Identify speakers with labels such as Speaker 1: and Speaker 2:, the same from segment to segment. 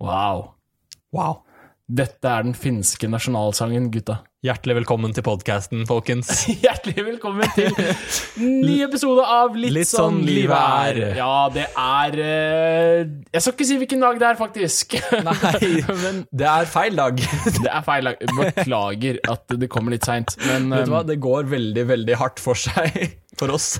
Speaker 1: Wow.
Speaker 2: Wow.
Speaker 1: Dette er den finske nasjonalsangen, gutta.
Speaker 2: Hjertelig velkommen til podkasten, folkens.
Speaker 1: Hjertelig velkommen til ny episode av Litt,
Speaker 2: Litt
Speaker 1: sånn
Speaker 2: sånn
Speaker 1: livet
Speaker 2: livet
Speaker 1: er.
Speaker 2: er.
Speaker 1: Ja, det er eh, Jeg skal ikke si hvilken dag det er, faktisk.
Speaker 2: Nei.
Speaker 1: Men
Speaker 2: Det er feil dag.
Speaker 1: det er feil dag. Beklager at det kommer litt seint, men
Speaker 2: Vet du hva,
Speaker 1: eh,
Speaker 2: det går veldig, veldig hardt for seg, for oss.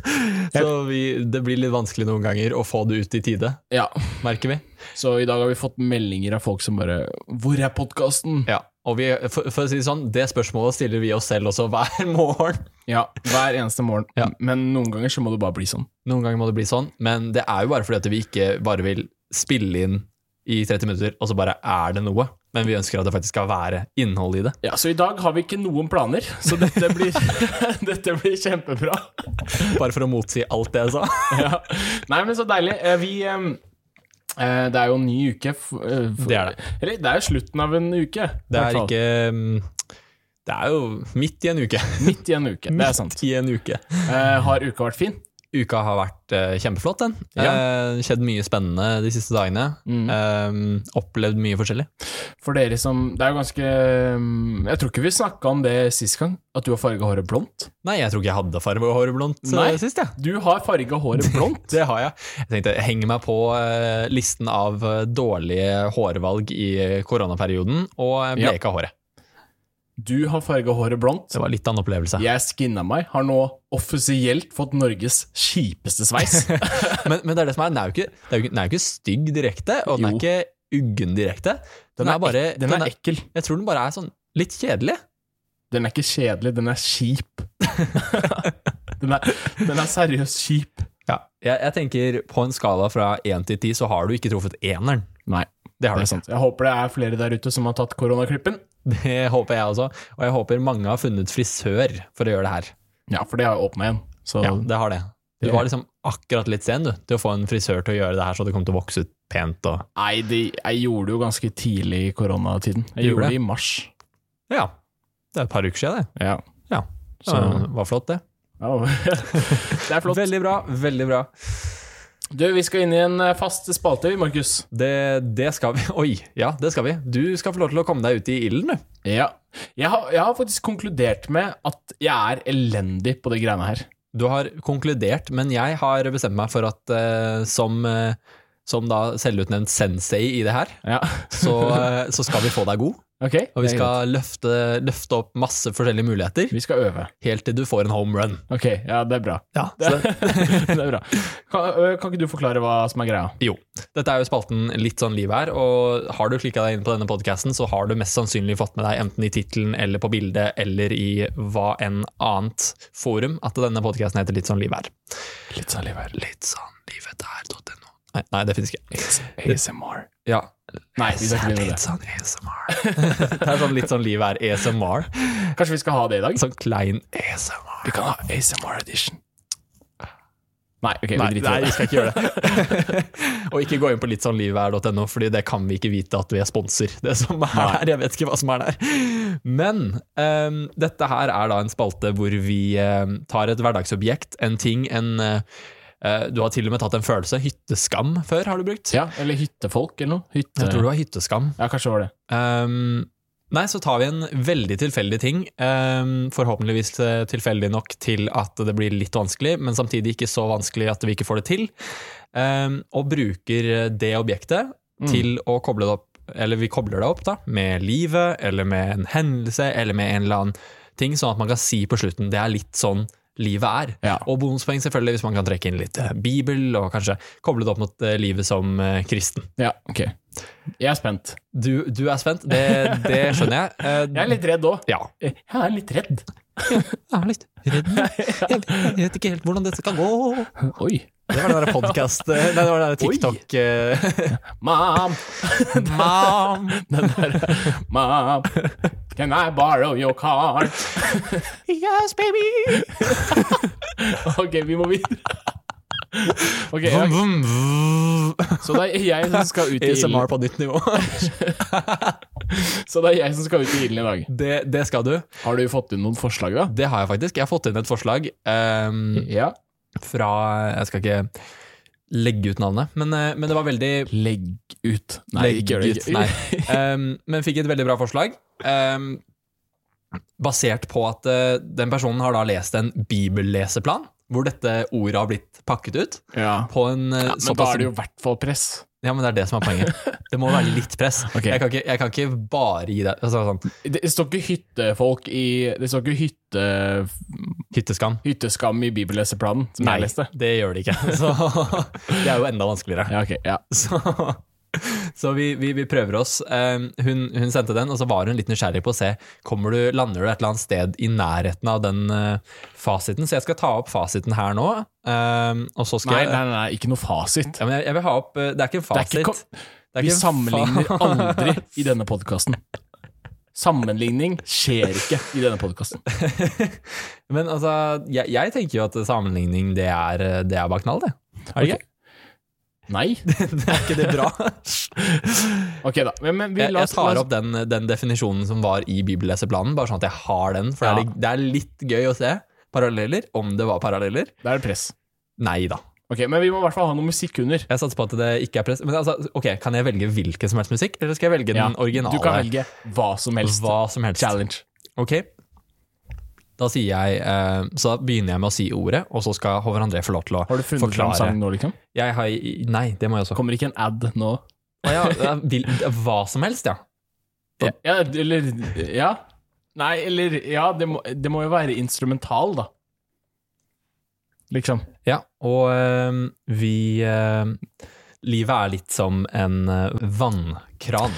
Speaker 2: Så vi, det blir litt vanskelig noen ganger å få det ut i tide,
Speaker 1: eh, ja.
Speaker 2: merker vi.
Speaker 1: Så i dag har vi fått meldinger av folk som bare 'Hvor er podkasten?'
Speaker 2: Ja. Og vi, for, for å si det sånn, det spørsmålet stiller vi oss selv også hver morgen.
Speaker 1: Ja, hver eneste morgen.
Speaker 2: Ja.
Speaker 1: Men noen ganger så må det bare bli sånn.
Speaker 2: Noen ganger må det bli sånn, men det er jo bare fordi at vi ikke bare vil spille inn i 30 minutter, og så bare er det noe. Men vi ønsker at det faktisk skal være innhold i det.
Speaker 1: Ja, Så i dag har vi ikke noen planer, så dette blir, dette blir kjempebra.
Speaker 2: Bare for å motsi alt det jeg sa.
Speaker 1: Ja. Nei, men så deilig. Eh, Vi eh, eh, Det er jo en ny uke. f- eh, for-
Speaker 2: Det er det.
Speaker 1: Eller det er jo slutten av en uke.
Speaker 2: Det
Speaker 1: i
Speaker 2: er
Speaker 1: hvert fall.
Speaker 2: ikke mm, Det er jo midt i en uke.
Speaker 1: Midt i en uke. Det er sant.
Speaker 2: Midt i en uke.
Speaker 1: Eh, Har uka vært fin?
Speaker 2: Uka har vært eh, kjempeflott, den.
Speaker 1: Ja. Mm.
Speaker 2: Eh, skjedd mye spennende de siste dagene. Eh, opplevd mye forskjellig.
Speaker 1: For dere som Det er jo ganske eh, Jeg tror ikke vi snakka om det sist gang, at du har farga håret blondt.
Speaker 2: Nei, jeg tror ikke jeg hadde farge og hårblondt
Speaker 1: Nei.
Speaker 2: sist, jeg.
Speaker 1: Du har farga håret blondt.
Speaker 2: Det har jeg. Jeg tenkte jeg henger meg på eh, listen av eh, dårlige hårvalg i eh, koronaperioden, og jeg
Speaker 1: Ja.
Speaker 2: bleka håret.
Speaker 1: Du har farga håret blondt.
Speaker 2: Det var litt av en opplevelse.
Speaker 1: Jeg skinna meg, har nå offisielt fått Norges kjipeste sveis.
Speaker 2: Men, men det er det som er, den er jo ikke, det er jo ikke, den er jo ikke stygg direkte, og den
Speaker 1: Jo.
Speaker 2: er ikke uggen direkte. Den,
Speaker 1: Den er
Speaker 2: er, bare
Speaker 1: ek- den er ekkel.
Speaker 2: Jeg tror den bare er sånn litt kjedelig.
Speaker 1: Den er ikke kjedelig, den er kjip. den, er, den er seriøst kjip.
Speaker 2: Jeg, jeg tenker på en skala fra én til ti, så har du ikke truffet eneren.
Speaker 1: Nei,
Speaker 2: Det har
Speaker 1: det er
Speaker 2: du ikke.
Speaker 1: sant. Jeg håper det er flere der ute som har tatt koronaklippen.
Speaker 2: Det håper jeg også. Og jeg håper mange har funnet frisør for å gjøre det her.
Speaker 1: Ja, for det har jo åpna igjen. Så
Speaker 2: Ja, det har det. Du var liksom akkurat litt sen du, til å få en frisør til å gjøre det her, så det kom til å vokse ut pent. Og...
Speaker 1: nei, de, jeg gjorde det jo ganske tidlig i koronatiden. Jeg
Speaker 2: Du gjorde
Speaker 1: gjorde
Speaker 2: det?
Speaker 1: det i mars.
Speaker 2: Ja, det er et par uker siden det.
Speaker 1: Ja.
Speaker 2: Ja.
Speaker 1: Så
Speaker 2: Så det var flott, det.
Speaker 1: ja. Det er flott.
Speaker 2: Veldig bra. veldig bra.
Speaker 1: Du, vi skal inn i en eh, fast spalte, vi, Markus.
Speaker 2: Det, det skal vi. Oi, ja, det skal vi. Du skal få lov til å komme deg ut i ilden, du.
Speaker 1: Ja. Jeg har, jeg har faktisk konkludert med at jeg er elendig på de greiene her.
Speaker 2: Du har konkludert, men jeg har bestemt meg for at eh, som, eh, som da selvutnevnt sensei i det her,
Speaker 1: Ja,
Speaker 2: så, eh, så skal vi få deg god.
Speaker 1: ok.
Speaker 2: Og vi
Speaker 1: det er greit.
Speaker 2: skal løfte, løfte opp masse forskjellige muligheter,
Speaker 1: vi skal øve.
Speaker 2: helt til du får en home run.
Speaker 1: Ok, ja, det er bra.
Speaker 2: Ja,
Speaker 1: Det, det er bra. Kan, ø, kan ikke du forklare hva som er greia?
Speaker 2: Jo. Dette er jo spalten Litt sånn liv her, og har du klikka deg inn på denne podkasten, så har du mest sannsynlig fått med deg enten i tittelen eller på bildet eller i hva enn annet forum at denne podkasten heter Litt sånn liv her.
Speaker 1: Litt sånn liv her.
Speaker 2: Litt sånn livet er.no. Nei, nei, det finnes ikke.
Speaker 1: ASMR.
Speaker 2: Ja.
Speaker 1: Nei, vi skal ikke begynne med det.
Speaker 2: sånn ASMR. det er sånn Litt sånn liv her, ASMR.
Speaker 1: Kanskje vi skal ha det i dag?
Speaker 2: Sånn klein ASMR.
Speaker 1: Vi kan ha ASMR edition. Nei, ok, vi
Speaker 2: Nei,
Speaker 1: driter
Speaker 2: nei,
Speaker 1: i
Speaker 2: vi
Speaker 1: det.
Speaker 2: skal ikke gjøre det. og ikke gå inn på sånn littsånnlivet.no, Fordi det kan vi ikke vite at vi er sponsor. Det som er der, Jeg vet ikke hva som er der. Men ehm, dette her er da en spalte hvor vi ehm, tar et hverdagsobjekt, en ting, en eh, eh, Du har til og med tatt en følelse. Hytteskam før har du brukt.
Speaker 1: Ja, eller hyttefolk eller noe. Hytte.
Speaker 2: Jeg tror det var hytteskam.
Speaker 1: Ja, kanskje det var det.
Speaker 2: Ehm, nei, så tar vi en veldig tilfeldig ting. ehm, forhåpentligvis eh, tilfeldig nok til at det blir litt vanskelig, men samtidig ikke så vanskelig at vi ikke får det til. Ehm, og bruker det objektet
Speaker 1: Mm.
Speaker 2: til å koble det opp, eller vi kobler det opp da, med livet, eller med en hendelse, eller med en eller annen ting, sånn at man kan si på slutten det er litt sånn livet er.
Speaker 1: Ja.
Speaker 2: Og bonuspoeng selvfølgelig hvis man kan trekke inn litt eh, bibel, og kanskje koble det opp mot eh, livet som eh, kristen.
Speaker 1: ja, ok. Jeg er spent.
Speaker 2: Du, du er spent, det, det skjønner jeg. Eh,
Speaker 1: Jeg er litt redd òg.
Speaker 2: ja.
Speaker 1: Jeg er litt redd.
Speaker 2: Jeg er litt redd. Jeg, vet ikke helt hvordan dette skal gå.
Speaker 1: Oi.
Speaker 2: Det var den der podcast eh, Nei, det var den der
Speaker 1: Oi.
Speaker 2: TikTok eh,
Speaker 1: Mom,
Speaker 2: Mom,
Speaker 1: den der Mom, can I borrow your car?
Speaker 2: yes baby
Speaker 1: Ok, vi må videre. Ok, ja,
Speaker 2: Vum, vum, vum.
Speaker 1: så det er jeg som skal ut i ilden.
Speaker 2: ASMR på nytt nivå.
Speaker 1: Så det er jeg som skal ut i ilden i dag.
Speaker 2: Det, det skal du.
Speaker 1: Har du fått inn noen forslag, da?
Speaker 2: Det Mm. har ehm, jeg faktisk. Jeg har fått inn et forslag eh,
Speaker 1: Ja.
Speaker 2: fra Jeg skal ikke legge ut navnet, men, eh, men det var veldig
Speaker 1: Legg ut. Nei,
Speaker 2: Legg
Speaker 1: ikke gjør det.
Speaker 2: ut, nei. Ehm, men fikk et veldig bra forslag. ehm, basert på at eh, den personen har da lest en bibelleseplan, hvor dette ordet har blitt pakket ut.
Speaker 1: Ja.
Speaker 2: På en
Speaker 1: Men
Speaker 2: eh,
Speaker 1: da
Speaker 2: såpass
Speaker 1: er det jo i hvert fall press.
Speaker 2: Ja, men det er det som er poenget. Det må være litt press.
Speaker 1: Ok.
Speaker 2: Jeg, kan ikke, jeg kan ikke bare gi deg altså, sånn,
Speaker 1: Det det står ikke hyttefolk i Det står ikke hytte,
Speaker 2: hytteskam.
Speaker 1: hytteskam i bibelleseplanen, som jeg leste.
Speaker 2: det gjør det ikke. Så det er jo enda vanskeligere.
Speaker 1: Ja, ok. Ja.
Speaker 2: Så, så vi, vi, vi prøver oss. Um, Hun, hun sendte den, og så var hun litt nysgjerrig på å se kommer du, Lander du et eller annet sted i nærheten av den eh, fasiten. Så jeg skal ta opp fasiten her nå. Um, og så skal
Speaker 1: Nei,
Speaker 2: jeg-
Speaker 1: nei, nei, ikke noe fasit.
Speaker 2: Ja, men jeg, jeg vil ha opp eh, Det er ikke en
Speaker 1: er
Speaker 2: fasit.
Speaker 1: ikke kom-
Speaker 2: Det er
Speaker 1: Vi
Speaker 2: ikke en
Speaker 1: sammenligner
Speaker 2: fa-
Speaker 1: aldri i denne podkasten. Sammenligning skjer ikke i denne podkasten.
Speaker 2: Men altså, jeg, jeg tenker jo at sammenligning, det er, eh, det er bare knall, det. Er det
Speaker 1: Nei.
Speaker 2: ikke? det er ikke det bra?
Speaker 1: Ok, da. Men, men vi
Speaker 2: Jeg,
Speaker 1: la
Speaker 2: jeg
Speaker 1: oss
Speaker 2: tar opp den, den definisjonen som var i bibelleseplanen, bare sånn at jeg har den, for det, er, litt- det er litt gøy å se paralleller, om det var paralleller.
Speaker 1: Da er det press.
Speaker 2: Nei da.
Speaker 1: Ok, Men vi må i hvert fall ha noe musikk under.
Speaker 2: Jeg satser på at det ikke er press. Men altså, ok, kan jeg velge hvilken som helst musikk, eller skal jeg velge
Speaker 1: Ja,
Speaker 2: den originale?
Speaker 1: Du kan velge hva som helst.
Speaker 2: Hva som helst.
Speaker 1: Challenge.
Speaker 2: Ok. Da sier jeg, eh, så da begynner jeg med å si ordet, og så skal Håvard André få lov til å
Speaker 1: Har du funnet
Speaker 2: Forklare.
Speaker 1: fram sangen nå, liksom?
Speaker 2: Jeg har, nei, det må jeg også.
Speaker 1: Kommer ikke en ad nå?
Speaker 2: Å ja, ja, vil, hva som helst, ja.
Speaker 1: Ja, eller Ja. Nei, eller Ja, det må, det må jo være instrumental, da. Liksom.
Speaker 2: ja og øhm, vi øhm, Livet er litt som en øh, vannkran.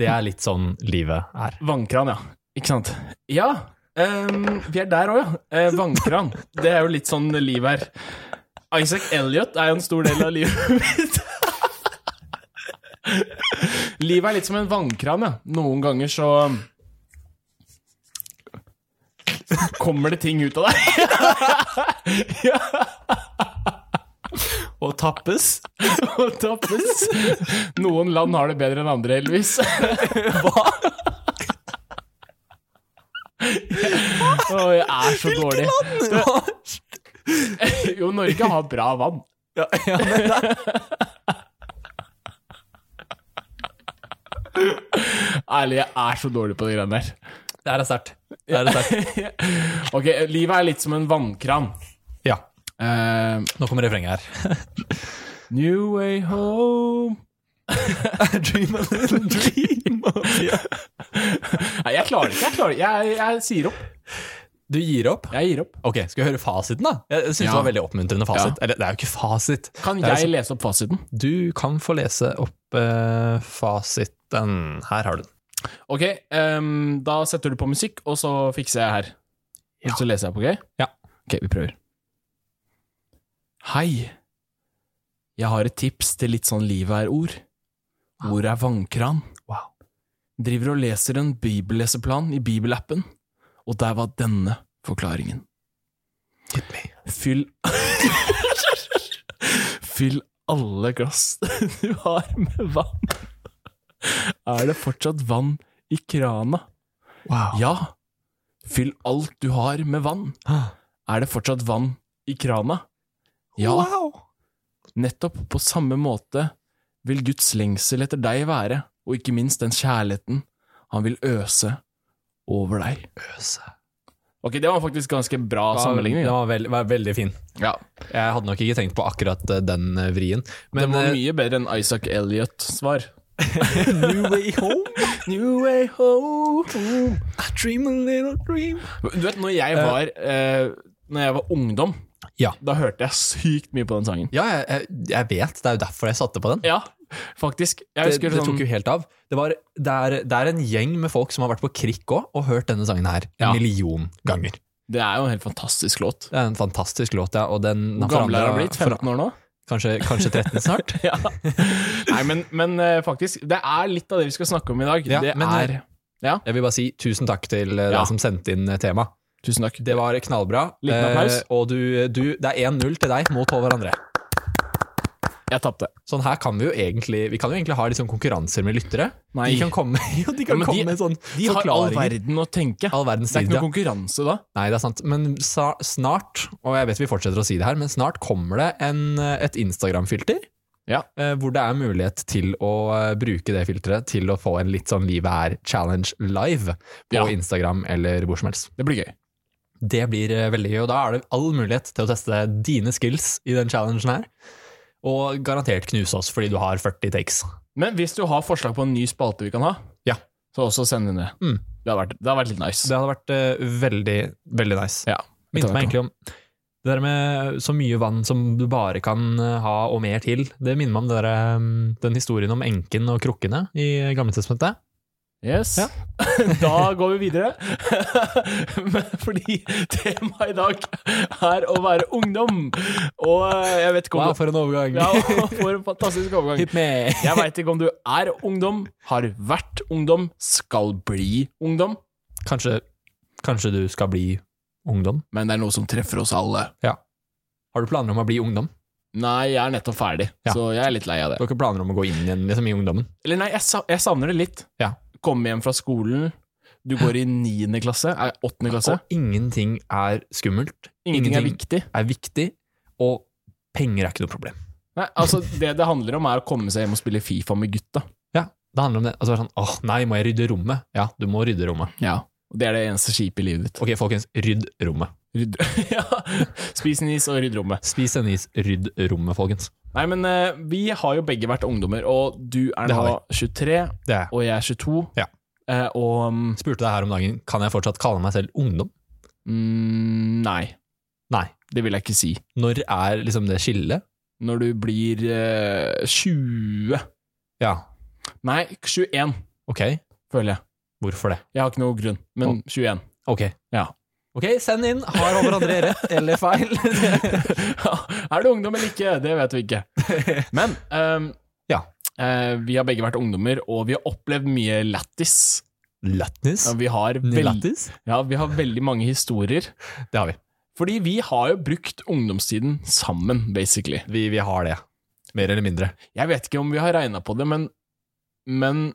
Speaker 2: Det er litt sånn livet er.
Speaker 1: Vannkran, ja. Ikke sant? Ja, ehm, vi er der òg, ja. Eh, vannkran. Det er jo litt sånn liv her. Isaac Elliot er jo en stor del av livet mitt. Livet er litt som en vannkran, ja. Noen ganger så Kommer det ting ut av deg?
Speaker 2: Og tappes.
Speaker 1: og tappes. Noen land har det bedre enn andre, heldigvis.
Speaker 2: Hva?
Speaker 1: Å, jeg er så dårlig. Jo, Norge har bra vann.
Speaker 2: Ja, ja, men da-
Speaker 1: Ærlig, jeg er så dårlig på de greiene der.
Speaker 2: det her er sterkt. Det her er sterkt.
Speaker 1: Ok, livet er litt som en vannkran.
Speaker 2: Ja.
Speaker 1: Eh,
Speaker 2: Nå kommer refrenget her.
Speaker 1: new way home
Speaker 2: dream a little dream.
Speaker 1: Nei, jeg klarer det ikke. Jeg, klarer, jeg, jeg sier opp.
Speaker 2: Du gir opp?
Speaker 1: Jeg gir opp.
Speaker 2: Ok, skal vi høre fasiten, da? Jeg syns
Speaker 1: Ja.
Speaker 2: det var veldig oppmuntrende fasit. Eller, det er jo ikke fasit.
Speaker 1: Kan
Speaker 2: Det er liksom,
Speaker 1: jeg lese opp fasiten?
Speaker 2: Du kan få lese opp eh, fasiten. Her har du den.
Speaker 1: Ok, ehm, da setter du på musikk, og så fikser jeg her.
Speaker 2: Ja.
Speaker 1: Så leser jeg på, ok?
Speaker 2: Ja.
Speaker 1: Ok, vi prøver. Hei. Jeg har et tips til litt sånn livet er-ord. Hvor er vannkran?
Speaker 2: Wow.
Speaker 1: Driver og leser en bibelleseplan i bibelappen, og der var denne forklaringen.
Speaker 2: Hit me.
Speaker 1: Fyll Fyll alle glass du har med vann. Er det fortsatt vann i krana?
Speaker 2: Wow.
Speaker 1: Ja. Fyll alt du har med vann. Er det fortsatt vann i krana? Ja,
Speaker 2: Wow.
Speaker 1: nettopp på samme måte vil Guds lengsel etter deg være, og ikke minst den kjærligheten han vil øse over deg. Ok, det var faktisk ganske bra sammenligning.
Speaker 2: Den
Speaker 1: da.
Speaker 2: var veldig, var veldig fin.
Speaker 1: Ja.
Speaker 2: Jeg hadde nok ikke tenkt på akkurat eh, den eh, vrien.
Speaker 1: Det
Speaker 2: Men
Speaker 1: var
Speaker 2: eh,
Speaker 1: mye bedre enn Isaac Elliot-svar.
Speaker 2: New Way Home,
Speaker 1: New way home
Speaker 2: I dream a little dream.
Speaker 1: Du vet, når jeg var eh, Når jeg var ungdom
Speaker 2: Ja.
Speaker 1: Da hørte jeg sykt mye på den sangen
Speaker 2: Ja, jeg, jeg, jeg vet. Det er jo derfor jeg satte på den.
Speaker 1: Ja, faktisk Jeg
Speaker 2: Det,
Speaker 1: husker
Speaker 2: det
Speaker 1: sånn
Speaker 2: tok jo helt av. Det, var, det, er, det er en gjeng med folk som har vært på Krik òg, og hørt denne sangen her en
Speaker 1: Ja.
Speaker 2: million ganger.
Speaker 1: Det er jo en helt fantastisk låt
Speaker 2: Det er en fantastisk låt, ja. Og den, den
Speaker 1: Hvor gammel er
Speaker 2: forandret-
Speaker 1: han blitt? 15 år nå?
Speaker 2: Kanskje, kanskje 13 snart?
Speaker 1: Ja Nei, men, men eh, faktisk Det er litt av det vi skal snakke om i dag
Speaker 2: Ja,
Speaker 1: Det
Speaker 2: men- eh,
Speaker 1: er
Speaker 2: Jeg vil bare si tusen takk til eh,
Speaker 1: Ja.
Speaker 2: deg som sendte inn eh, tema.
Speaker 1: Tusen takk
Speaker 2: Det var knallbra.
Speaker 1: Liten applaus.
Speaker 2: Eh, og du, du, det er 1-0 til deg mot Håvard André.
Speaker 1: Jeg tapte.
Speaker 2: Sånn her kan vi jo egentlig Vi kan jo egentlig ha litt sånn konkurranser med lyttere.
Speaker 1: Nei.
Speaker 2: De kan komme, jo, de
Speaker 1: Ja,
Speaker 2: kan
Speaker 1: men
Speaker 2: komme
Speaker 1: de-
Speaker 2: med sånn
Speaker 1: De har all
Speaker 2: forklaringer.
Speaker 1: verden å tenke.
Speaker 2: All verdens
Speaker 1: Det er
Speaker 2: tid,
Speaker 1: ikke
Speaker 2: ja.
Speaker 1: noe konkurranse da.
Speaker 2: Nei, det er sant. Men sa, snart, og jeg vet vi fortsetter å si det her, men snart kommer det en, et Instagram-filter.
Speaker 1: Ja.
Speaker 2: eh, Hvor det er mulighet til å eh, bruke det filteret til å få en litt sånn Livet er-challenge live på
Speaker 1: Ja.
Speaker 2: Instagram eller hvor som helst.
Speaker 1: Det blir gøy.
Speaker 2: Det blir eh, veldig gøy, og da er det all mulighet til å teste dine skills i den challengen her. Og garantert knuse oss fordi du har 40 takes.
Speaker 1: Men hvis du har forslag på en ny spalte vi kan ha,
Speaker 2: Ja.
Speaker 1: så også send inn det.
Speaker 2: Mm.
Speaker 1: Det, har vært, det har vært litt nice.
Speaker 2: Det hadde vært eh, veldig, veldig nice.
Speaker 1: Ja, det
Speaker 2: Minte
Speaker 1: tar
Speaker 2: meg
Speaker 1: jeg på.
Speaker 2: egentlig om det der med eh, så mye vann som du bare kan eh, ha, og mer til. Det minner meg om det der, eh, den historien om enken og krukkene i Gamletestamentet.
Speaker 1: Yes.
Speaker 2: Ja.
Speaker 1: da går vi videre. Men Fordi temaet i dag er å være ungdom. Og eh, jeg vet ikke om
Speaker 2: Wow, for en overgang!
Speaker 1: du ja, For en fantastisk overgang.
Speaker 2: Hit me!
Speaker 1: Jeg veit ikke om du er ungdom, har vært ungdom, skal bli ungdom.
Speaker 2: Kanskje, kanskje du skal bli ungdom?
Speaker 1: Men det er noe som treffer oss alle.
Speaker 2: Har du planer om å bli ungdom?
Speaker 1: Nei, jeg er nettopp ferdig,
Speaker 2: Ja.
Speaker 1: så jeg er litt lei av det.
Speaker 2: Du har ikke planer om å gå inn igjen liksom, i ungdommen?
Speaker 1: Eller nei, jeg, sa- jeg savner det litt.
Speaker 2: Ja.
Speaker 1: Komme hjem fra skolen, du går i niende klasse, er åttende klasse.
Speaker 2: Og ingenting er skummelt,
Speaker 1: Ingenting er viktig.
Speaker 2: er viktig, og penger er ikke noe problem.
Speaker 1: Nei, altså Det det handler om, er å komme seg hjem og spille Fifa med gutta.
Speaker 2: Ja, det handler om det. Altså, det er sånn, åh nei, må jeg rydde rommet? Ja, du må rydde rommet.
Speaker 1: Ja. Og Det er det eneste skipet i livet ditt.
Speaker 2: Ok, folkens, rydd rommet.
Speaker 1: Rydd. ja. Spis en is og rydd rommet.
Speaker 2: Spis en is, rydd rommet, folkens.
Speaker 1: Nei, men eh, vi har jo begge vært ungdommer, og du er
Speaker 2: Det
Speaker 1: nå
Speaker 2: har
Speaker 1: 23,
Speaker 2: Det er jeg.
Speaker 1: og jeg er 22.
Speaker 2: Ja.
Speaker 1: Eh, og mm,
Speaker 2: Spurte deg her om dagen, kan jeg fortsatt kalle meg selv ungdom?
Speaker 1: mm, Nei,
Speaker 2: Nei.
Speaker 1: det vil jeg ikke si.
Speaker 2: Når er liksom det skillet?
Speaker 1: Når du blir eh, 20
Speaker 2: Ja,
Speaker 1: Nei, 21,
Speaker 2: ok.
Speaker 1: føler jeg.
Speaker 2: Hvorfor det?
Speaker 1: Jeg har ikke noe grunn, men 21.
Speaker 2: Ok.
Speaker 1: Ja.
Speaker 2: Ok, send inn, har hverandre rett eller feil?
Speaker 1: er du ungdom eller ikke? Det vet vi ikke. Men ehm,
Speaker 2: Ja.
Speaker 1: eh, vi har begge vært ungdommer, og vi har opplevd mye lættis.
Speaker 2: Lattis?
Speaker 1: Ja, Vi, har veld-
Speaker 2: Lattis?
Speaker 1: ja, vi har veldig mange historier.
Speaker 2: Det har vi.
Speaker 1: Fordi vi har jo brukt ungdomstiden sammen, basically.
Speaker 2: Vi, vi har det. Mer eller mindre.
Speaker 1: Jeg vet ikke om vi har regna på det, men, men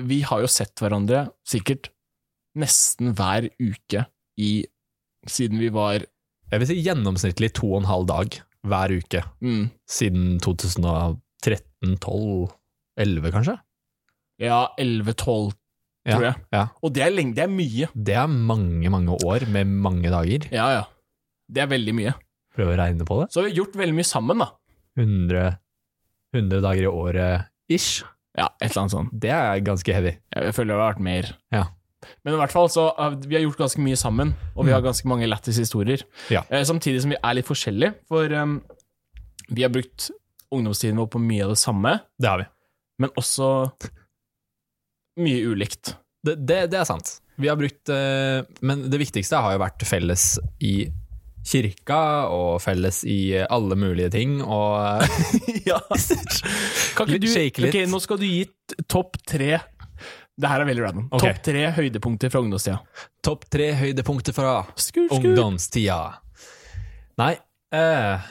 Speaker 1: vi har jo sett hverandre sikkert nesten hver uke i, siden vi var
Speaker 2: Jeg vil si gjennomsnittlig to og en halv dag hver uke
Speaker 1: mm,
Speaker 2: siden 2013-12 11 kanskje?
Speaker 1: ja, 11-12, tror jeg.
Speaker 2: ja.
Speaker 1: Og det er, lenge, det er mye.
Speaker 2: Det er mange, mange år med mange dager.
Speaker 1: Ja, ja. Det er veldig mye.
Speaker 2: Prøv å regne på det.
Speaker 1: Så vi har gjort veldig mye sammen, da.
Speaker 2: 100, 100 dager i året ish.
Speaker 1: Ja, et eller annet sånt.
Speaker 2: Det er ganske heavy.
Speaker 1: Jeg, jeg føler det har vært mer.
Speaker 2: Ja.
Speaker 1: Men i hvert fall, så uh, vi har gjort ganske mye sammen, og vi har ganske mange lættis historier.
Speaker 2: Ja.
Speaker 1: Eh, samtidig som vi er litt forskjellige, for um, vi har brukt ungdomstiden vår på mye av det samme,
Speaker 2: Det har vi.
Speaker 1: men også mye ulikt.
Speaker 2: Det, det, det er sant. Vi har brukt eh, Men det viktigste har jo vært felles i kirka, og felles i alle mulige ting, og eh,
Speaker 1: ja. Kan ikke
Speaker 2: Litt
Speaker 1: du
Speaker 2: shake litt.
Speaker 1: Ok, nå skal du gi t- topp tre Det her er veldig random.
Speaker 2: Ok.
Speaker 1: Topp tre høydepunkter fra ungdomstida.
Speaker 2: Topp tre høydepunkter fra
Speaker 1: Skur, skur.
Speaker 2: ungdomstida. Nei eh,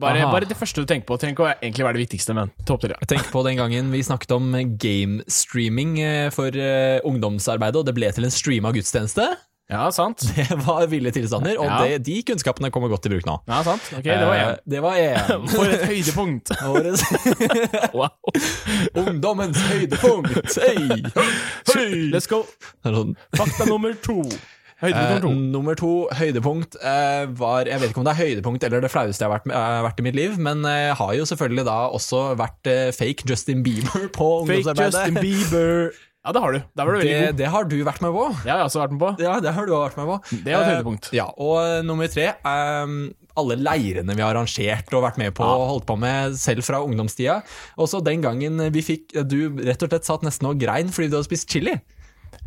Speaker 1: Bare,
Speaker 2: aha.
Speaker 1: bare det første du tenker på. Tenk å egentlig være det viktigste, men topp tre.
Speaker 2: Tenk på den gangen vi snakket om gamestreaming eh, for eh, ungdomsarbeidet, og det ble til en streama gudstjeneste.
Speaker 1: Ja, sant.
Speaker 2: Det var ville tilstander, og
Speaker 1: Ja.
Speaker 2: det, de kunnskapene kommer godt i bruk nå.
Speaker 1: Ja, sant. Ok, det var
Speaker 2: Eh,
Speaker 1: én.
Speaker 2: Det var én.
Speaker 1: For et høydepunkt!
Speaker 2: Årets
Speaker 1: Wow.
Speaker 2: ungdommens høydepunkt! Hey.
Speaker 1: Let's go!
Speaker 2: Det er sånn.
Speaker 1: Fakta nummer to.
Speaker 2: Eh,
Speaker 1: Høydepunkt nummer to.
Speaker 2: nummer to høydepunkt eh, var Jeg vet ikke om det er høydepunkt eller det flaueste jeg har vært, med, eh, vært i mitt liv, men eh, jeg har jo selvfølgelig da også vært eh, fake Justin Bieber på
Speaker 1: Fake
Speaker 2: ungdomsarbeidet.
Speaker 1: Justin Bieber. Ja, det har du. Der var du veldig
Speaker 2: det,
Speaker 1: god.
Speaker 2: det har du vært med på.
Speaker 1: Jeg har jeg også vært med på.
Speaker 2: Ja, det har du vært med på.
Speaker 1: Det var et
Speaker 2: Eh,
Speaker 1: høydepunkt.
Speaker 2: Ja, og eh, nummer tre ehm, alle leirene vi har arrangert og vært med på og holdt på med selv fra ungdomstida. Også den gangen vi fikk eh, Du rett og slett satt nesten og grein fordi du hadde spist chili.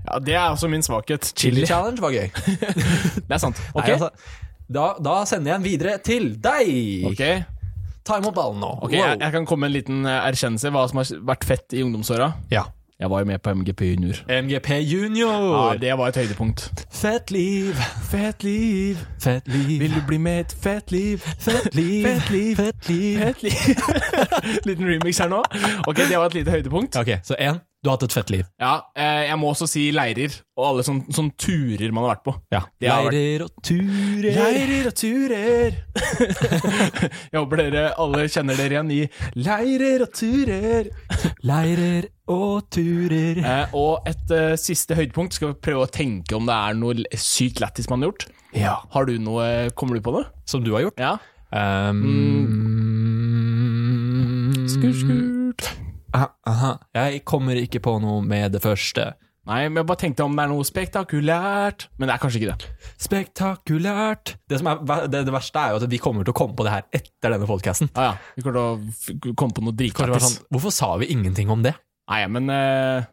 Speaker 1: Ja, det er også min svakhet.
Speaker 2: Chili
Speaker 1: Chili.
Speaker 2: challenge var gøy. Nei,
Speaker 1: Det er sant. Ok,
Speaker 2: altså, da, da sender jeg den videre til deg!
Speaker 1: Ok.
Speaker 2: Ta imot ballen nå.
Speaker 1: Ok, jeg, jeg kan komme med en liten eh, erkjennelse hva som har vært fett i ungdomsåra.
Speaker 2: Ja.
Speaker 1: Jeg var jo med på MGP junior.
Speaker 2: MGP junior!
Speaker 1: Ja, det var et høydepunkt.
Speaker 2: Fett liv,
Speaker 1: Fett liv,
Speaker 2: fett liv,
Speaker 1: vil du bli med et fett liv?
Speaker 2: fett liv,
Speaker 1: Fett liv.
Speaker 2: fett liv.
Speaker 1: Fett liv. Liten remix her nå. Ok, det var et lite høydepunkt.
Speaker 2: Ok, så én, du har hatt et fett liv.
Speaker 1: Ja, eh, jeg må også si leirer, og alle sånne, sånne turer man har vært på.
Speaker 2: Ja.
Speaker 1: Det har vært-
Speaker 2: Leirer og turer.
Speaker 1: Leirer og turer. jeg håper dere alle kjenner dere igjen i leirer og turer.
Speaker 2: Leirer og turer.
Speaker 1: Eh, og et eh, siste høydepunkt. Skal vi prøve å tenke om det er noe l- sykt lættis man har gjort?
Speaker 2: Ja.
Speaker 1: Har du noe eh, Kommer du på det?
Speaker 2: Som du har gjort. Ehm,
Speaker 1: Ja. Mm.
Speaker 2: Um,
Speaker 1: skurt.
Speaker 2: Aha, aha. Jeg kommer ikke på noe med det første.
Speaker 1: Nei, men jeg bare tenkte om det er noe spektakulært. Men det er kanskje ikke det.
Speaker 2: Spektakulært. Det, som er, det, det verste er jo at vi kommer til å komme på det her etter denne podcasten.
Speaker 1: Ja, ja. Vi kommer til å f- komme på noe
Speaker 2: Kanskje det var
Speaker 1: dritlættis.
Speaker 2: Sånn, hvorfor sa vi ingenting om det?
Speaker 1: Nei, men eh,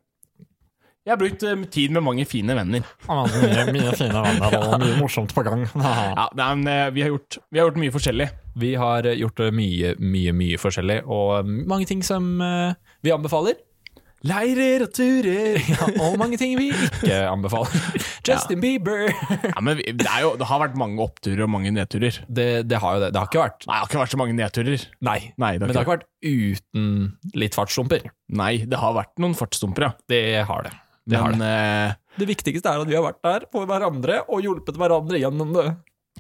Speaker 1: Jeg har brukt eh, tid med mange fine venner.
Speaker 2: Mye, fine venner og mye morsomt på gang.
Speaker 1: Ja, nei, men eh, vi, har gjort, vi har gjort mye forskjellig.
Speaker 2: Vi har gjort mye, mye, mye forskjellig, og mange ting som eh, vi anbefaler.
Speaker 1: Leirer og turer.
Speaker 2: Ja, og mange ting vi ikke anbefaler. Justin Bieber!
Speaker 1: Ja, men vi- det, er jo, det har vært mange oppturer og mange nedturer.
Speaker 2: Det, det har jo det. Det har ikke vært
Speaker 1: Nei, det har ikke vært så mange nedturer.
Speaker 2: Nei.
Speaker 1: Nei, det
Speaker 2: Men
Speaker 1: har
Speaker 2: det har
Speaker 1: ikke vært.
Speaker 2: ikke vært uten litt fartsdumper.
Speaker 1: Nei, det har vært noen fartsdumper, ja.
Speaker 2: Det har det. Det, har
Speaker 1: Men
Speaker 2: det.
Speaker 1: eh,
Speaker 2: det viktigste er at vi har vært der for hverandre og hjulpet hverandre gjennom det.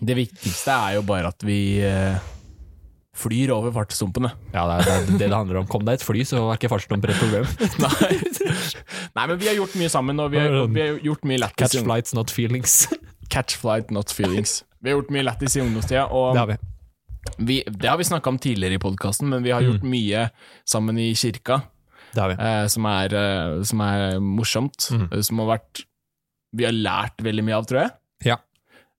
Speaker 1: det viktigste er jo bare at vi eh, flyr over fartsdumpene.
Speaker 2: Ja, det er det er det det handler om. Kom deg et fly, så var ikke fartsdumper et problem.
Speaker 1: Nei. Nei, men vi har gjort mye sammen, og vi har, vi har gjort mye lættis.
Speaker 2: Catch
Speaker 1: i ung-
Speaker 2: flights, not feelings.
Speaker 1: Catch flight, not feelings. Vi har gjort mye lættis i ungdomstida, og
Speaker 2: Det har vi. Mm.
Speaker 1: vi, det har vi snakka om tidligere i podkasten, men vi har gjort mye sammen i kirka,
Speaker 2: Det har vi.
Speaker 1: eh, som, er, eh, som er morsomt. eh, Som har vært Vi har lært veldig mye av, tror jeg.
Speaker 2: Ja.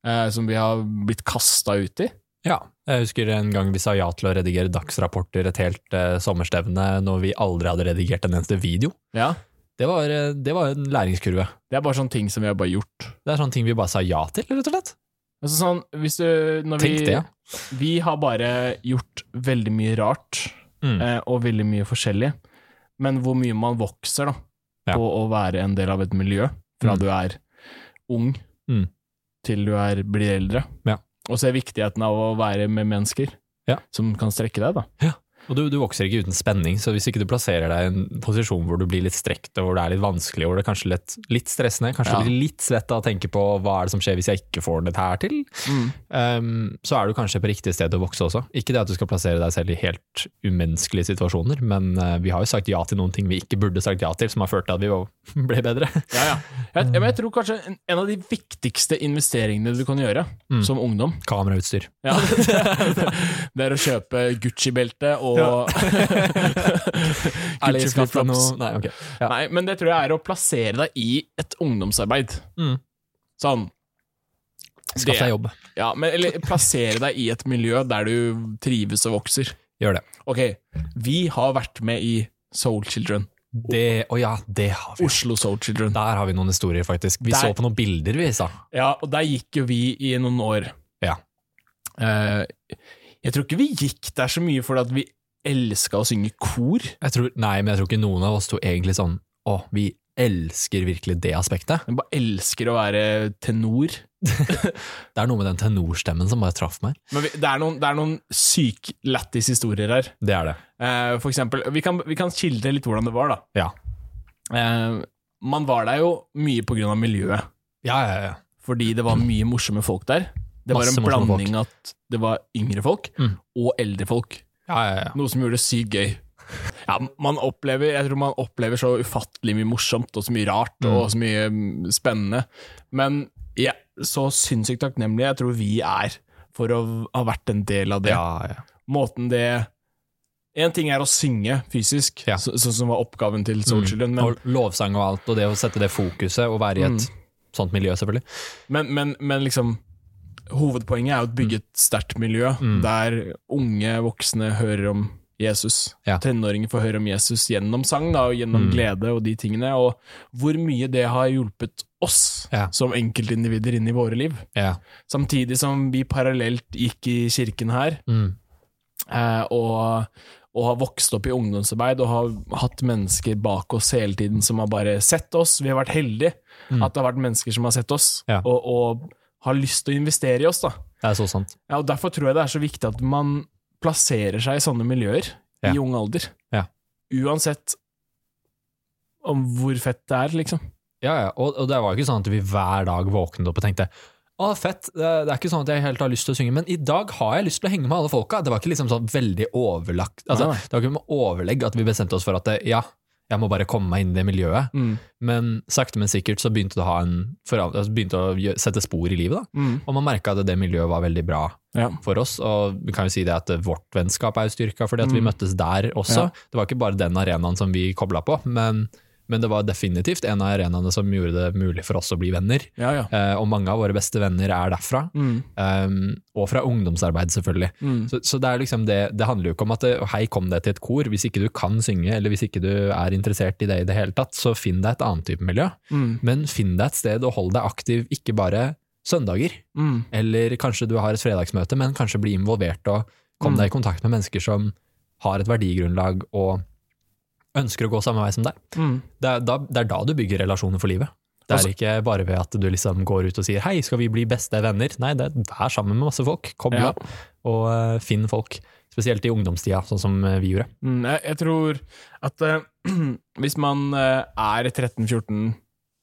Speaker 1: Eh, som vi har blitt kasta ut i.
Speaker 2: Ja, jeg husker en gang vi sa ja til å redigere dagsrapporter et helt eh, sommerstevne når vi aldri hadde redigert en eneste video.
Speaker 1: Ja.
Speaker 2: Det var, eh, det var en læringskurve.
Speaker 1: Det er bare sånne ting som vi har bare gjort.
Speaker 2: Det er sånne ting vi bare sa ja til, rett og slett.
Speaker 1: Altså sånn, hvis du, når vi,
Speaker 2: Tenk det.
Speaker 1: vi har bare gjort veldig mye rart,
Speaker 2: Mm.
Speaker 1: eh, og veldig mye forskjellig. Men hvor mye man vokser da,
Speaker 2: Ja.
Speaker 1: på å være en del av et miljø, fra
Speaker 2: Mm.
Speaker 1: du er ung
Speaker 2: Mm.
Speaker 1: til du er, blir eldre.
Speaker 2: Ja.
Speaker 1: Og så er viktigheten av å være med mennesker
Speaker 2: Ja.
Speaker 1: som kan strekke deg. da.
Speaker 2: Og du, du vokser ikke uten spenning, så hvis ikke du plasserer deg i en posisjon hvor du blir litt strekt, og hvor det er litt vanskelig, og hvor det er kanskje litt, litt stressende, kanskje
Speaker 1: Ja.
Speaker 2: du blir litt svett av å tenke på hva er det som skjer hvis jeg ikke får dette her til, ehm, så er du kanskje på riktig sted å vokse også. Ikke det at du skal plassere deg selv i helt umenneskelige situasjoner, men eh, vi har jo sagt ja til noen ting vi ikke burde sagt ja til, som har ført til at vi jo ble bedre.
Speaker 1: Ja, ja. Jeg, men jeg tror kanskje en, en av de viktigste investeringene du kan gjøre
Speaker 2: Mm.
Speaker 1: som ungdom,
Speaker 2: Kamerautstyr.
Speaker 1: ja, det er å kjøpe Gucci-belte og
Speaker 2: Er det
Speaker 1: Gucci
Speaker 2: skapt fra
Speaker 1: flip-flops.
Speaker 2: noe? Nei, ok. Ja.
Speaker 1: Nei, men det tror jeg er å plassere deg i et ungdomsarbeid.
Speaker 2: Mm.
Speaker 1: Sånn. Det-
Speaker 2: Skaff deg jobb.
Speaker 1: Ja, men eller plassere deg i et miljø der du trives og vokser.
Speaker 2: Gjør det.
Speaker 1: Ok, vi har vært med i Soul Children.
Speaker 2: Det, å ja, det har vi.
Speaker 1: Oslo Soul Children.
Speaker 2: Der har vi noen historier, faktisk. Vi
Speaker 1: Der-
Speaker 2: så på noen bilder, vi sa.
Speaker 1: Ja, og der gikk jo vi i noen år.
Speaker 2: Ja.
Speaker 1: Eh, jeg tror ikke vi gikk der så mye fordi at vi elska å synge kor.
Speaker 2: Jeg tror, nei, men jeg tror ikke noen av oss to egentlig sånn Å, vi elsker virkelig det aspektet.
Speaker 1: Vi bare elsker å være tenor.
Speaker 2: Det er noe med den tenorstemmen som bare traff meg.
Speaker 1: Men vi, det er noen, det er noen syk lættis historier her.
Speaker 2: Det er det.
Speaker 1: Eh, for eksempel, vi kan, vi kan skildre litt hvordan det var, da.
Speaker 2: Ja.
Speaker 1: Eh, man var der jo mye på grunn av miljøet,
Speaker 2: Ja, ja, ja.
Speaker 1: fordi det var mye morsomme folk der. Det var
Speaker 2: Mm. Masse
Speaker 1: en
Speaker 2: morsomme
Speaker 1: blanding at det var yngre folk
Speaker 2: Mm.
Speaker 1: og eldre folk,
Speaker 2: ja, ja, ja.
Speaker 1: noe som gjorde det sykt gøy. Ja, man opplever, jeg tror man opplever så ufattelig mye morsomt og så mye rart og så mye mm, spennende. Men jeg er så sinnssykt takknemlig jeg tror vi er for å ha vært en del av det
Speaker 2: ja, ja.
Speaker 1: måten det En ting er å synge fysisk,
Speaker 2: Ja. Mm.
Speaker 1: så, sånn som var oppgaven til Soul Children, men, Mm.
Speaker 2: Og lovsang og alt, og det å sette det fokuset og være i et sånt miljø, selvfølgelig.
Speaker 1: men, men, men liksom Hovedpoenget er jo å bygge et sterkt miljø
Speaker 2: Mm.
Speaker 1: der unge voksne hører om Jesus.
Speaker 2: Ja. Mm.
Speaker 1: Tenåringer får høre om Jesus gjennom sang da, og gjennom glede og de tingene. Og hvor mye det har hjulpet oss
Speaker 2: Ja.
Speaker 1: som enkeltindivider inn i våre liv.
Speaker 2: Ja.
Speaker 1: Mm. Samtidig som vi parallelt gikk i kirken her,
Speaker 2: Mm.
Speaker 1: eh, og, og har vokst opp i ungdomsarbeid og har hatt mennesker bak oss hele tiden som har bare sett oss. Vi har vært heldige
Speaker 2: Mm.
Speaker 1: at det har vært mennesker som har sett oss,
Speaker 2: Ja.
Speaker 1: og, og har lyst til å investere i oss. da.
Speaker 2: Det er så sant.
Speaker 1: Ja, og Derfor tror jeg det er så viktig at man plasserer seg i sånne miljøer
Speaker 2: Ja.
Speaker 1: i ung alder.
Speaker 2: Ja.
Speaker 1: Uansett om hvor fett det er, liksom.
Speaker 2: Ja, ja. Og, og det var ikke sånn at vi hver dag våknet opp og tenkte å, fett, det er det er ikke sånn at jeg helt har lyst til å synge, men i dag har jeg lyst til å henge med alle folka. Det var ikke liksom sånn veldig overlagt, altså,
Speaker 1: Nei, nei.
Speaker 2: det var ikke med overlegg at vi bestemte oss for at ja, jeg må bare komme meg inn i det miljøet.
Speaker 1: Mm.
Speaker 2: Men sakte, men sikkert så begynte det å, ha en, foran- altså, begynte å gjø- sette spor i livet, da.
Speaker 1: Mm.
Speaker 2: Og man merka at det miljøet var veldig bra
Speaker 1: Ja.
Speaker 2: for oss, og vi kan jo si det at vårt vennskap er jo styrka fordi at vi
Speaker 1: Mm.
Speaker 2: møttes der også.
Speaker 1: Ja.
Speaker 2: Det var ikke bare den arenaen som vi kobla på, men, men det var definitivt en av arenaene som gjorde det mulig for oss å bli venner.
Speaker 1: ja, ja.
Speaker 2: Eh, og mange av våre beste venner er derfra.
Speaker 1: Mm.
Speaker 2: Um, og fra ungdomsarbeid, selvfølgelig.
Speaker 1: Mm.
Speaker 2: Så, så det, er liksom det, det handler jo ikke om at det, hei, kom deg til et kor. Hvis ikke du kan synge, eller hvis ikke du er interessert i det i det hele tatt, så finn deg et annet type miljø.
Speaker 1: Mm.
Speaker 2: Men finn deg et sted og hold deg aktiv, ikke bare søndager.
Speaker 1: Mm.
Speaker 2: Eller kanskje du har et fredagsmøte, men kanskje bli involvert og kom
Speaker 1: Mm.
Speaker 2: deg i kontakt med mennesker som har et verdigrunnlag og ønsker å gå samme vei som deg.
Speaker 1: Mm.
Speaker 2: Det er da, det er da du bygger relasjoner for livet. Det er
Speaker 1: Altså-
Speaker 2: ikke bare ved at du liksom går ut og sier 'hei, skal vi bli beste venner'? Nei, det er vær sammen med masse folk. Kom
Speaker 1: Ja.
Speaker 2: opp og eh, finn folk. Spesielt i ungdomstida, sånn som eh, vi gjorde.
Speaker 1: Mm, jeg, jeg tror at eh, hvis man eh, er 13-14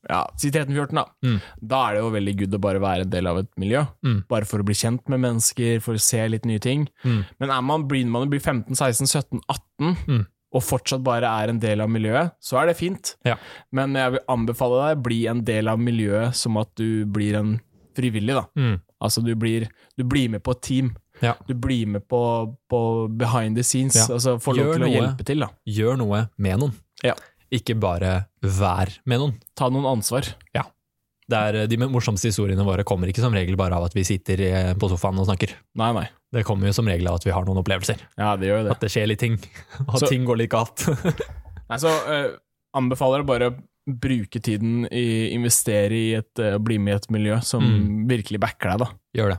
Speaker 1: Ja, si 13-14, da.
Speaker 2: Mm.
Speaker 1: Da er det jo veldig good å bare være en del av et miljø.
Speaker 2: Mm.
Speaker 1: Bare for å bli kjent med mennesker, for å se litt nye ting.
Speaker 2: Mm.
Speaker 1: Men er man, blir man blir 15-16-17-18,
Speaker 2: Mm.
Speaker 1: og fortsatt bare er en del av miljøet, så er det fint.
Speaker 2: Ja.
Speaker 1: Men jeg vil anbefale deg bli en del av miljøet som at du blir en frivillig, da.
Speaker 2: Mm.
Speaker 1: Altså du blir, du blir med på et team.
Speaker 2: Ja.
Speaker 1: Du blir med på, på behind the scenes.
Speaker 2: Ja.
Speaker 1: Altså få lov
Speaker 2: Gjør
Speaker 1: til å
Speaker 2: noe.
Speaker 1: hjelpe til, da.
Speaker 2: Gjør noe med noen.
Speaker 1: Ja.
Speaker 2: Ikke bare vær med noen.
Speaker 1: Ta noen ansvar.
Speaker 2: Det er, eh, de morsomste historiene våre kommer ikke som regel bare av at vi sitter eh, på sofaen og snakker.
Speaker 1: Nei, nei.
Speaker 2: Det kommer jo som regel av at vi har noen opplevelser.
Speaker 1: Ja, det gjør jo det.
Speaker 2: At det skjer litt ting. Og at
Speaker 1: Så-
Speaker 2: ting går litt galt.
Speaker 1: Nei, så eh, anbefaler jeg bare å bruke tiden i investere i et eh, bli med i et miljø som
Speaker 2: Mm.
Speaker 1: virkelig backer deg, da.
Speaker 2: Gjør det.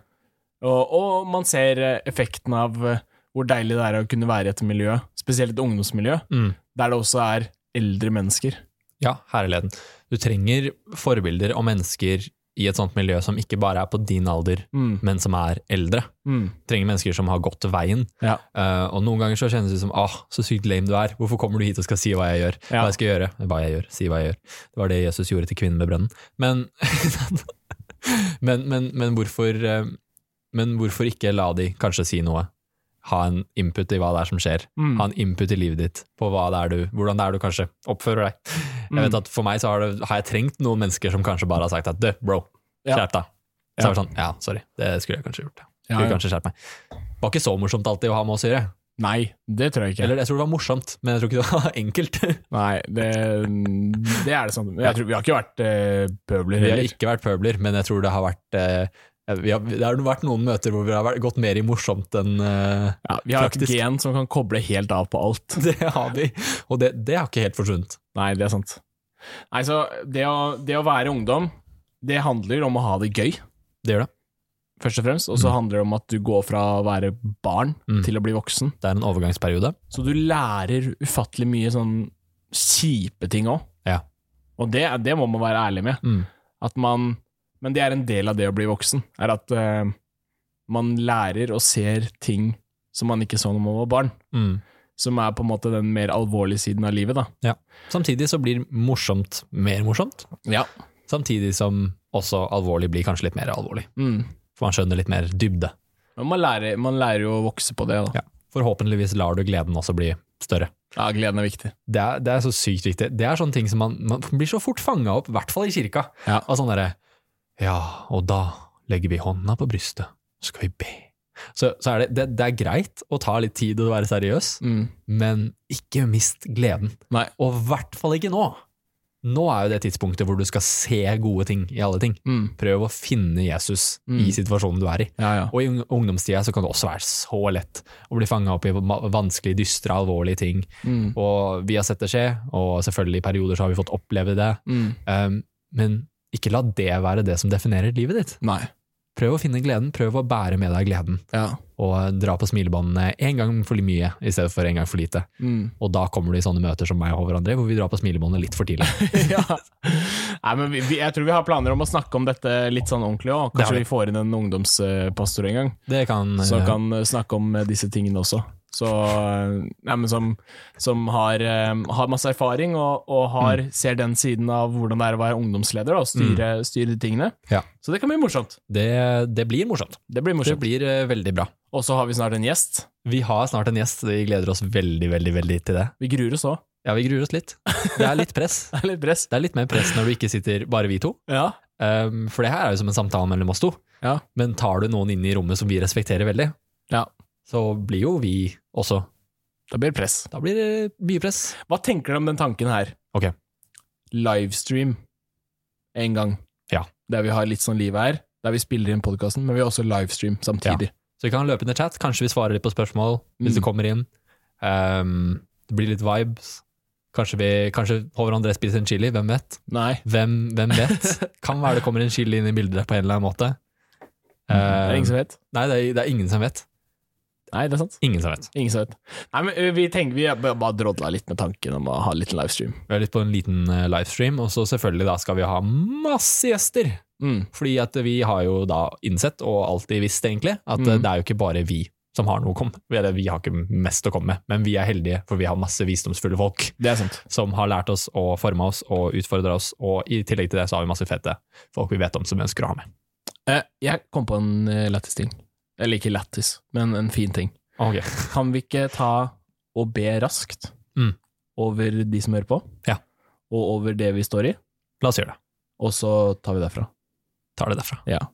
Speaker 1: Og, og man ser eh, effekten av eh, hvor deilig det er å kunne være i et miljø, spesielt et ungdomsmiljø,
Speaker 2: Mm.
Speaker 1: der det også er eldre mennesker.
Speaker 2: Ja, herligheten. Du trenger forbilder og mennesker i et sånt miljø som ikke bare er på din alder,
Speaker 1: Mm,
Speaker 2: men som er eldre.
Speaker 1: mm,
Speaker 2: Du trenger mennesker som har gått veien.
Speaker 1: ja.
Speaker 2: Eh, og noen ganger så kjennes det ut som ah, så sykt lame du er. Hvorfor kommer du hit og skal si hva jeg gjør?
Speaker 1: Ja.
Speaker 2: Hva jeg skal gjøre? Hva jeg gjør? Si hva jeg gjør. Det var det Jesus gjorde til kvinnen ved brønnen. Men, men, men, men, hvorfor, eh, men hvorfor ikke la de kanskje si noe? Ha en input i hva det er som skjer.
Speaker 1: Mm.
Speaker 2: Ha en input i livet ditt på hva det er du, hvordan det er du kanskje oppfører deg. Jeg
Speaker 1: mm.
Speaker 2: vet at For meg så har, det, har jeg trengt noen mennesker som kanskje bare har sagt at du, bro,
Speaker 1: Ja.
Speaker 2: skjerp deg. Så
Speaker 1: Ja.
Speaker 2: er det sånn, ja, sorry, det skulle jeg kanskje gjort. Ja.
Speaker 1: Ja,
Speaker 2: Skulle
Speaker 1: ja.
Speaker 2: kanskje skjerpe meg. Det var ikke så morsomt alltid å ha med oss å gjøre.
Speaker 1: Nei, det tror jeg ikke.
Speaker 2: Eller jeg tror det var morsomt, men jeg tror ikke det var enkelt.
Speaker 1: Nei, det, det er det samme. Men Jeg tror, vi har ikke vært eh, pøbler
Speaker 2: Vi har
Speaker 1: heller.
Speaker 2: ikke vært pøbler, men jeg tror det har vært eh, vi har, Det har vært noen møter hvor vi har vært, gått mer i morsomt enn eh,
Speaker 1: Ja, vi har
Speaker 2: Praktisk.
Speaker 1: et gen som kan koble helt av på alt.
Speaker 2: Det har vi. Og det, det har ikke helt forsvunnet.
Speaker 1: Nei, det er sant. Nei, så det å, det å være ungdom, det handler om å ha det gøy,
Speaker 2: Det gjør det.
Speaker 1: først og fremst. Og så handler det om at du går fra å være barn
Speaker 2: Mm.
Speaker 1: til å bli voksen.
Speaker 2: Det er en overgangsperiode.
Speaker 1: Så du lærer ufattelig mye sånn kjipe ting òg.
Speaker 2: Ja.
Speaker 1: Og det, det må man være ærlig med.
Speaker 2: Mm.
Speaker 1: At man, men det er en del av det å bli voksen. Er at eh, man lærer og ser ting som man ikke så når man var barn.
Speaker 2: Mm.
Speaker 1: Som er på en måte den mer alvorlige siden av livet, da.
Speaker 2: Samtidig så blir morsomt mer morsomt,
Speaker 1: Ja.
Speaker 2: samtidig som også alvorlig blir kanskje litt mer alvorlig.
Speaker 1: Mm.
Speaker 2: For man skjønner litt mer dybde.
Speaker 1: Men man lærer, man lærer jo å vokse på det, da.
Speaker 2: Ja. Forhåpentligvis lar du gleden også bli større.
Speaker 1: Ja, gleden er viktig.
Speaker 2: Det er, det er så sykt viktig. Det er sånne ting som man, man blir så fort fanga opp, i hvert fall i kirka,
Speaker 1: Ja.
Speaker 2: av sånn derre Ja, og da legger vi hånda på brystet, så skal vi be. Så, så er det, det, det er greit å ta litt tid og være seriøs,
Speaker 1: Mm.
Speaker 2: men ikke mist gleden.
Speaker 1: Nei.
Speaker 2: Og i hvert fall ikke nå. Nå er jo det tidspunktet hvor du skal se gode ting i alle ting.
Speaker 1: Mm.
Speaker 2: Prøv å finne Jesus
Speaker 1: Mm.
Speaker 2: i situasjonen du er i.
Speaker 1: Ja, ja.
Speaker 2: Og i ung- ungdomstida så kan det også være så lett å bli fanga opp i ma- vanskelige, dystre, alvorlige ting.
Speaker 1: Mm.
Speaker 2: Og vi har sett det skje, og selvfølgelig i perioder så har vi fått oppleve det.
Speaker 1: Mm.
Speaker 2: Um, men ikke la det være det som definerer livet ditt.
Speaker 1: Nei.
Speaker 2: Prøv å finne gleden, prøv å bære med deg gleden.
Speaker 1: Ja.
Speaker 2: og dra på smilebåndene én gang for mye i stedet for én gang for lite.
Speaker 1: Mm.
Speaker 2: Og da kommer du i sånne møter som meg og Håvard André, hvor vi drar på smilebåndet litt for tidlig.
Speaker 1: ja. Nei, men vi, vi, jeg tror vi har planer om å snakke om dette litt sånn ordentlig òg.
Speaker 2: Det har
Speaker 1: Kanskje
Speaker 2: vi.
Speaker 1: vi får inn en ungdomspastor en gang,
Speaker 2: Det kan,
Speaker 1: som kan eh, snakke om eh, disse tingene også. Så, eh, nei, men som som har, eh, har masse erfaring og, og har,
Speaker 2: Mm.
Speaker 1: ser den siden av hvordan det er å være ungdomsleder da, og styre, styre de tingene.
Speaker 2: Ja.
Speaker 1: Så det kan bli morsomt.
Speaker 2: Det, det blir morsomt.
Speaker 1: Det blir
Speaker 2: Det
Speaker 1: morsomt.
Speaker 2: blir eh, veldig bra.
Speaker 1: Og så har vi snart en gjest.
Speaker 2: Vi har snart en gjest, vi gleder oss veldig, veldig veldig til det.
Speaker 1: Vi gruer oss òg.
Speaker 2: Ja, vi gruer oss litt. Det er litt press.
Speaker 1: Det er litt press.
Speaker 2: Det er litt mer press når du ikke sitter bare vi to,
Speaker 1: Ja.
Speaker 2: um, for det her er jo som en samtale mellom oss to.
Speaker 1: Ja.
Speaker 2: Men tar du noen inn i rommet som vi respekterer veldig,
Speaker 1: Ja.
Speaker 2: så blir jo vi også
Speaker 1: Det blir press.
Speaker 2: Da blir det mye press.
Speaker 1: Hva tenker du om den tanken her?
Speaker 2: Ok.
Speaker 1: Livestream en gang.
Speaker 2: Ja.
Speaker 1: Der vi har litt sånn livet her, der vi spiller inn podkasten, men vi har også livestream samtidig.
Speaker 2: Så vi kan løpe inn i chat, kanskje vi svarer litt på spørsmål hvis
Speaker 1: Mm.
Speaker 2: det kommer inn. Um, det blir litt vibes. Kanskje, vi, kanskje Håvard André spiser en chili, hvem vet?
Speaker 1: Nei.
Speaker 2: Hvem, hvem vet? kan være det kommer en chili inn i bildet på en eller annen måte.
Speaker 1: Mm, Det er
Speaker 2: Um,
Speaker 1: ingen som vet.
Speaker 2: Nei, det er, det er ingen som vet.
Speaker 1: Nei, det er sant.
Speaker 2: Ingen som vet.
Speaker 1: Ingen som vet. Nei, men ø, vi tenker vi har bare drodla litt med tanken om å ha en liten livestream.
Speaker 2: Vi er litt på en liten eh, livestream, og så selvfølgelig da skal vi ha masse gjester.
Speaker 1: Mm.
Speaker 2: Fordi at vi har jo da innsett, og alltid visst egentlig, at eh,
Speaker 1: Mm.
Speaker 2: det er jo ikke bare vi som har noe å komme med. Eller vi har ikke mest å komme med, men vi er heldige, for vi har masse visdomsfulle folk
Speaker 1: Det er sant.
Speaker 2: som har lært oss og forma oss og utfordra oss, og i tillegg til det så har vi masse fete folk vi vet om som vi ønsker å ha med.
Speaker 1: Eh, Jeg kom på en eh, lættis ting. Eller ikke lættis, men en fin ting.
Speaker 2: Ok,
Speaker 1: Kan vi ikke ta og be raskt
Speaker 2: Mm.
Speaker 1: over de som hører på,
Speaker 2: Ja.
Speaker 1: og over det vi står i,
Speaker 2: La oss gjøre det.
Speaker 1: og så tar vi derfra?
Speaker 2: Tar det derfra.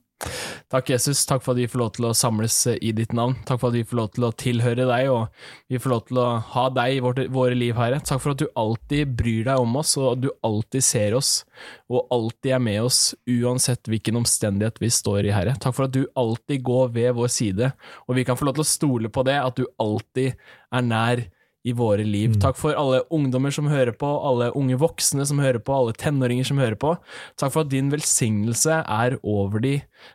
Speaker 1: Takk, Jesus. Takk for at vi får lov til å samles eh, i ditt navn. Takk for at vi får lov til å tilhøre deg, og vi får lov til å ha deg i vårt, våre liv, Herre. Takk for at du alltid bryr deg om oss, og at du alltid ser oss, og alltid er med oss, uansett hvilken omstendighet vi står i, Herre. Takk for at du alltid går ved vår side, og vi kan få lov til å stole på det, at du alltid er nær i våre liv. Takk for alle ungdommer som hører på, alle unge voksne som hører på, alle tenåringer som hører på. Takk for at din velsignelse er over de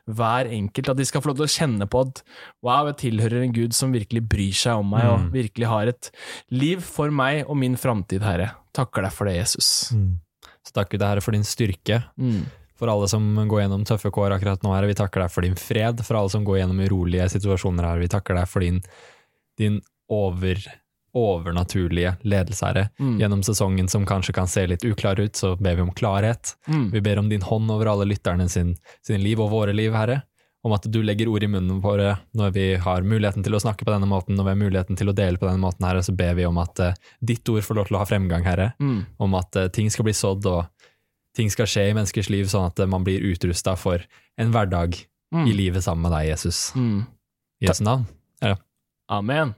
Speaker 1: hver enkelt, at de skal få lov til å kjenne på at wow, jeg tilhører en Gud som virkelig bryr seg om meg, og
Speaker 2: Mm.
Speaker 1: virkelig har et liv for meg og min framtid, Herre. Takker deg for det, Jesus.
Speaker 2: Så takk Gud, Herre, for din styrke,
Speaker 1: Mm.
Speaker 2: for alle som går gjennom tøffe kår akkurat nå her, vi takker deg for din fred, for alle som går gjennom urolige situasjoner her, vi takker deg for din, din over, overnaturlige ledelse herre.
Speaker 1: Mm.
Speaker 2: Gjennom sesongen som kanskje kan se litt uklar ut, så ber vi om klarhet.
Speaker 1: Mm.
Speaker 2: Vi ber om din hånd over alle lytterne sin, sin liv og våre liv, herre. Om at du legger ord i munnen våre når vi har muligheten til å snakke på denne måten, når vi har muligheten til å dele på denne måten, herre, så ber vi om at eh, ditt ord får lov til å ha fremgang, herre
Speaker 1: Mm.
Speaker 2: om at eh, ting skal bli sådd og ting skal skje i menneskers liv, sånn at eh, man blir utrusta for en hverdag
Speaker 1: Mm.
Speaker 2: i livet sammen med deg, Jesus.
Speaker 1: Mm.
Speaker 2: I Jesu navn.
Speaker 1: Amen.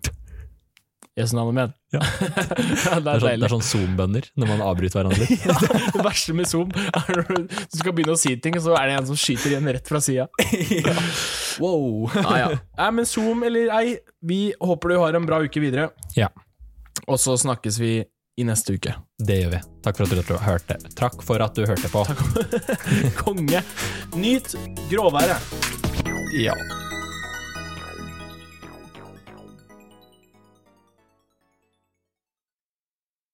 Speaker 1: Jesu navn, amen.
Speaker 2: Ja. Det
Speaker 1: det er
Speaker 2: er, sånn, det
Speaker 1: deilig.
Speaker 2: er sånn Zoom-bønner når man avbryter hverandre.
Speaker 1: Ja, det verste med Zoom er når du du skal begynne å si ting, og så er det en som skyter igjen rett fra sida.
Speaker 2: Wow!
Speaker 1: Ah, ja. Nei, men Zoom eller ei, vi håper du har en bra uke videre.
Speaker 2: Ja.
Speaker 1: Og så snakkes vi i neste uke.
Speaker 2: Det gjør vi. Takk for at du hørte. Takk for at du hørte på.
Speaker 1: Konge. Nyt gråværet.
Speaker 2: Ja.